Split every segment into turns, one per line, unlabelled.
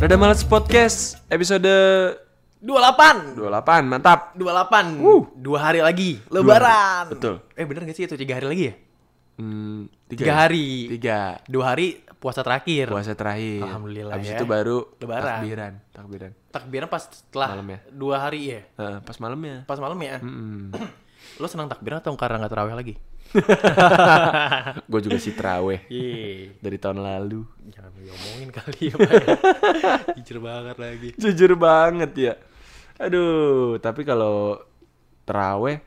Rada Males Podcast episode
28
28, mantap.
28
Wuh.
Dua hari lagi Lebaran
Betul.
Eh bener gak sih itu tiga hari lagi ya?
Hmm, tiga,
Tiga
ya?
hari
Tiga.
Dua hari puasa terakhir
Puasa terakhir.
Alhamdulillah
Habis
ya.
itu baru
Lebaran.
takbiran, takbiran.
Takbiran pas setelah
Malam ya.
Dua hari ya?
Heeh, pas malamnya.
Pas malam ya?
Mm-mm.
Lo senang takbiran atau karena gak terawih lagi?
Gue juga sih teraweh
Yeay
dari tahun lalu.
Jangan diomongin kali ya Pak ya. Jujur banget lagi
Jujur banget ya. Aduh, tapi kalau teraweh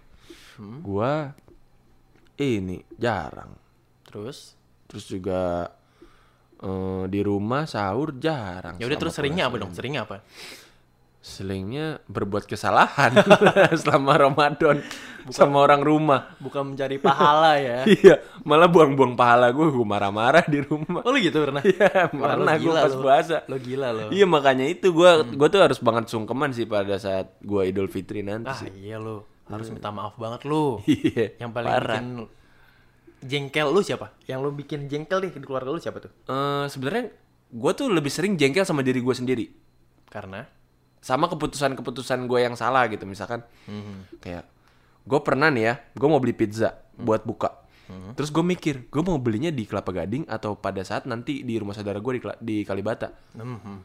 Hmm?
gua ini jarang.
Terus?
Terus juga eh, di rumah sahur jarang.
Ya udah
selama
terus seringnya apa
puasa.
dong? Seringnya apa?
Selingnya berbuat kesalahan selama Ramadan sama orang rumah.
Bukan mencari pahala ya
Iya, malah buang-buang pahala gue, gue marah-marah di rumah.
Oh lo gitu pernah?
Iya,
Wah, lo
pernah gue
gila
pas
lo.
puasa.
Lo gila lo
Iya, makanya itu gue gua tuh harus banget sungkeman sih pada saat gue Idul Fitri nanti
Ah
Gitu sih.
iya lo Harus minta maaf banget lo
Iya,
yang paling
parah.
bikin jengkel lu siapa? Yang lu bikin jengkel deh di keluarga lu siapa tuh?
Eh, sebenarnya gue tuh lebih sering jengkel sama diri gue sendiri.
Karena
Sama keputusan-keputusan gue yang salah gitu. Misalkan
Mhm.
kayak gue pernah nih ya, gue mau beli pizza buat buka.
Mhm.
Terus gue mikir, gue mau belinya di Kelapa Gading atau pada saat nanti di rumah saudara gue di, Kela- di Kalibata.
Mhm.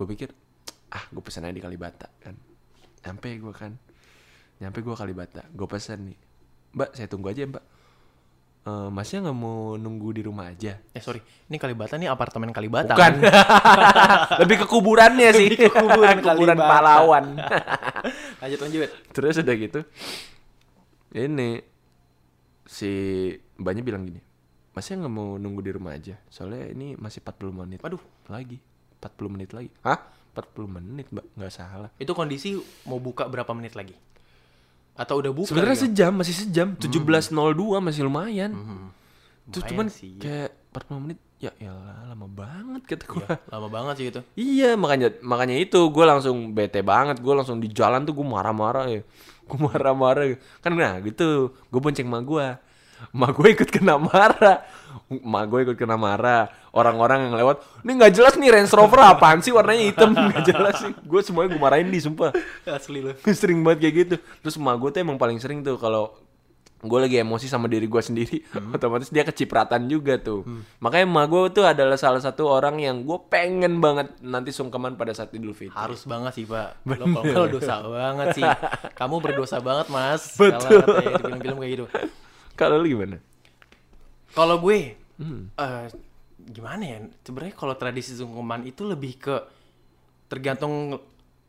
Gue pikir, ah gue pesen aja di Kalibata kan. Nyampe gue kan, nyampe gue Kalibata. Gue pesen nih, mbak saya tunggu aja mbak. Eh, masnya nggak mau nunggu di rumah aja?
eh sorry, ini Kalibata nih apartemen Kalibata.
Bukan.
kan?
Lebih ke kuburannya sih.
Lebih ke kuburan
kuburan
Kalibata.
pahlawan.
lanjut lanjut.
Terus udah gitu. Ini si mbaknya bilang gini. Masnya nggak mau nunggu di rumah aja? Soalnya ini masih 40 menit. Waduh, lagi. 40 menit lagi. Hah? 40 menit, Mbak. Nggak salah.
Itu kondisi mau buka berapa menit lagi? Atau udah buka?
Sebenarnya
gitu?
sejam, masih sejam. 17.02 masih lumayan. Terus
Lumayan
cuman
sih,
kayak 40 menit, ya elah lama banget kata gue.
lama banget sih itu.
Iya makanya makanya itu gue langsung bete banget gue langsung di jalan tuh gue marah-marah ya gue marah-marah kan nah gitu gue bonceng ma gue ma gue ikut kena marah ma gue ikut kena marah orang-orang yang lewat ini nggak jelas nih Range Rover apaan sih warnanya hitam nggak jelas sih gue semuanya gue marahin di sumpah
Asli lo.
sering banget kayak gitu terus emak gue tuh emang paling sering tuh kalau gue lagi emosi sama diri gue sendiri otomatis dia kecipratan juga tuh makanya emak gue tuh adalah salah satu orang yang gue pengen banget nanti sungkeman pada saat idul fitri
Harus banget sih pak. Lo kalau nggak, lo dosa banget sih. Kamu berdosa banget mas.
Betul.
Kalau katanya di film-film kayak gitu.
kalau lu gimana
Kalau gue, eh, gimana ya? Sebenarnya kalau tradisi sungkeman itu lebih ke tergantung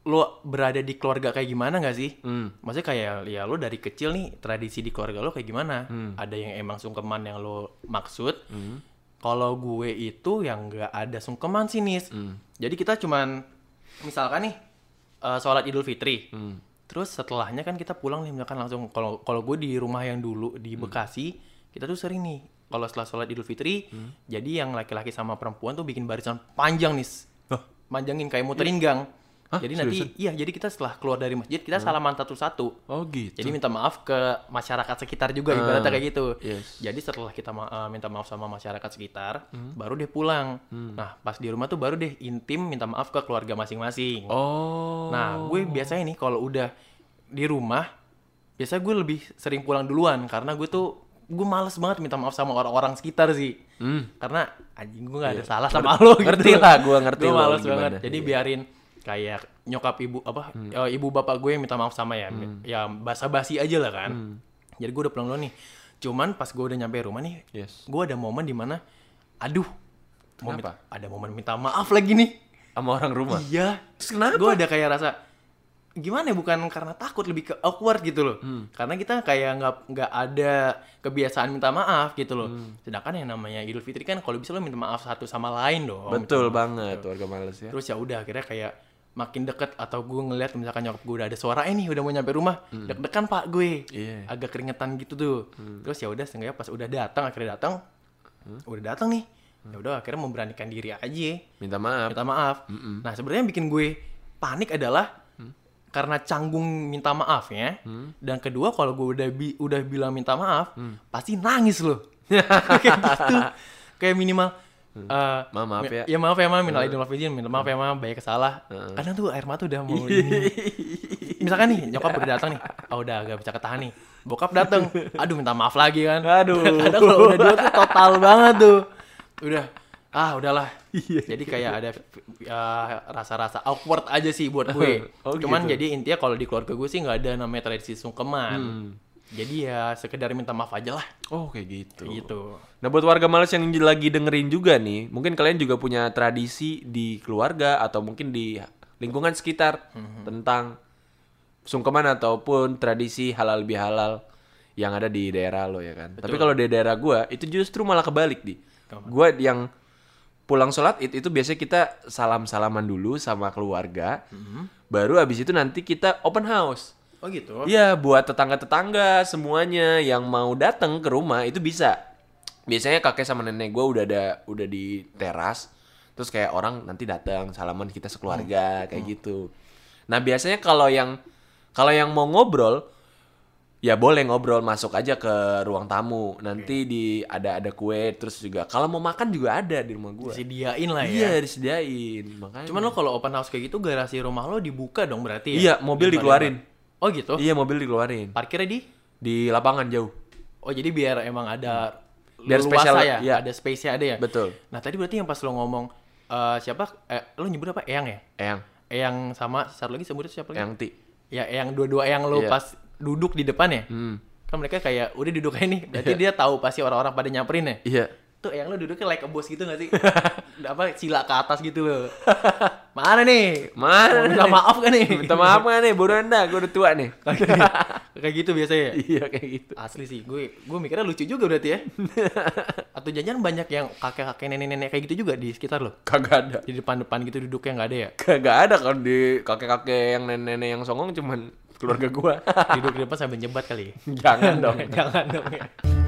lo berada di keluarga kayak gimana nggak sih? Maksudnya kayak ya lo dari kecil nih tradisi di keluarga lo kayak gimana? Ada yang emang sungkeman yang lo maksud? Kalau gue itu yang nggak ada sungkeman sih nis. Jadi kita cuman misalkan nih eh, sholat Idul Fitri.
Hmm.
Terus setelahnya kan kita pulang nih misalkan langsung kalau kalau gue di rumah yang dulu di
Hmm.
Bekasi, kita tuh sering nih kalau setelah sholat Idul Fitri,
Hmm.
jadi yang laki-laki sama perempuan tuh bikin barisan panjang nih. Panjangin kayak muterin gang.
Iya. Hah,
jadi nanti iya, jadi kita setelah keluar dari masjid kita salaman satu-satu.
oh gitu
Jadi minta maaf ke masyarakat sekitar juga ibaratnya kayak gitu.
Ah, yes. Hmm.
Jadi setelah kita ma- eh, minta maaf sama masyarakat sekitar, baru deh pulang. Nah, pas di rumah tuh baru deh intim minta maaf ke keluarga masing-masing.
oh
Nah, gue biasanya nih kalau udah di rumah, biasanya gue lebih sering pulang duluan karena gue tuh gue males banget minta maaf sama orang-orang sekitar sih. Karena anjing gue gak ada salah sama lo
Hmm. Iya.
gitu.
Ngerti lah, gue ngerti
Gue
lo gimana. Iya.
males
Hmm.
banget. Jadi biarin kayak nyokap ibu apa eh, ibu bapak gue yang minta maaf sama ya ya basa-basi aja lah kan.
Hmm.
Jadi gue udah pulang duluan nih. Cuman pas gue udah nyampe rumah nih,
yes
gue ada momen dimana, aduh,
Kenapa?
mau minta- ada momen minta maaf lagi nih.
sama orang rumah
Iya.
Terus kenapa?
Gue ada kayak rasa gimana ya bukan karena takut lebih ke awkward gitu loh.
Hmm.
Karena kita kayak nggak nggak ada kebiasaan minta maaf gitu loh.
Hmm.
Sedangkan yang namanya Idul Fitri kan kalau bisa lo minta maaf satu sama lain dong.
betul banget warga males ya
Terus ya udah akhirnya kayak makin deket atau gue ngeliat misalkan nyokap gue udah ada suara ini udah mau nyampe rumah deg-degan pak gue
Hmm. Iya. Hmm.
agak keringetan gitu tuh terus ya udah seenggaknya pas udah datang akhirnya datang udah datang nih
Hmm.
ya udah akhirnya memberanikan diri aja
minta maaf
minta maaf. Nah, sebenarnya yang bikin gue panik adalah
Hmm.
karena canggung minta maafnya. Dan kedua kalau gue udah bi- udah
Hmm.
bilang minta maaf, pasti nangis loh. Kayak gitu. Kayak minimal eh,
Hmm. Ma, maaf
mi-
ya. Eh.
Ya maaf ya ma, minal aidin wal faizin, minal maaf ya ma, banyak kesalah. Kadang tuh air mata udah mau ini. Misalkan nih, nyokap udah datang nih. Ah udah agak bisa ketahan nih. Bokap datang. Aduh minta maaf lagi kan.
Aduh.
Kadang kalau udah dua tuh total banget tuh. Udah ah udahlah.
Iya.
Jadi kayak ada ya, rasa-rasa awkward aja sih buat gue.
Oh,
Cuman
gitu.
jadi intinya kalau di keluarga gue sih nggak ada namanya tradisi sungkeman.
Hmm.
Jadi ya sekedar minta maaf aja lah
Oh kayak gitu.
gitu.
Nah buat warga Males yang lagi dengerin juga nih, mungkin kalian juga punya tradisi di keluarga atau mungkin di lingkungan sekitar tentang sungkeman ataupun tradisi halal bihalal yang ada di daerah lo ya kan. Tapi kalau di daerah gua itu justru malah kebalik di. Gua yang pulang sholat id itu biasanya kita salam salaman dulu sama keluarga, baru abis itu nanti kita open house.
Oh gitu.
Iya, buat tetangga-tetangga semuanya yang mau datang ke rumah itu bisa. Biasanya kakek sama nenek gue udah ada udah di teras, terus kayak orang nanti datang salaman kita
Hmm.
sekeluarga kayak gitu. Nah biasanya kalau yang kalau yang mau ngobrol ya boleh ngobrol masuk aja ke ruang tamu. Nanti di ada ada kue terus juga kalau mau makan juga ada di rumah gue.
Disediain lah ya.
Iya disediain makanya.
Cuman lo kalau open house kayak gitu garasi rumah lo dibuka dong berarti
Iya,
ya?
mobil
Di
dikeluarin.
mana-mana. Oh gitu.
iya mobil dikeluarin
Parkirnya di
di lapangan jauh.
Oh jadi biar emang ada
Biar
leluasa
spesial,
ya,
iya.
ada space-nya ada ya.
Betul.
Nah, tadi berarti yang pas lo ngomong eh, siapa eh, lo nyebut apa? Eyang ya?
Eyang,
Eyang sama satu lagi sebutnya siapa lagi?
Eyang Ti.
Ya Eyang dua-dua Eyang lo
Iya. Hmm.
pas duduk di depan ya. Kan mereka kayak udah duduk aja nih. Berarti dia tahu pasti orang-orang pada nyamperin ya.
Iya.
Tuh Eyang lo duduknya like a boss gitu gak sih? apa sila ke atas gitu loh. Mana nih?
Mana
Mau minta
nih?
maaf gak nih?
Minta maaf gak nih, bodoh anda, gue udah tua nih.
kayak gitu biasanya. ya?
iya kayak gitu.
Asli sih, gue gue mikirnya lucu juga berarti ya. Atau jangan banyak yang kakek-kakek nenek-nenek kayak gitu juga di sekitar lo.
Kagak ada.
Di depan-depan gitu duduknya nggak ada ya.
Kagak ada kan di kakek-kakek yang nenek-nenek yang songong cuman keluarga gua.
Duduk di depan sambil nyebat kali. ya?
Jangan dong.
Jangan dong ya.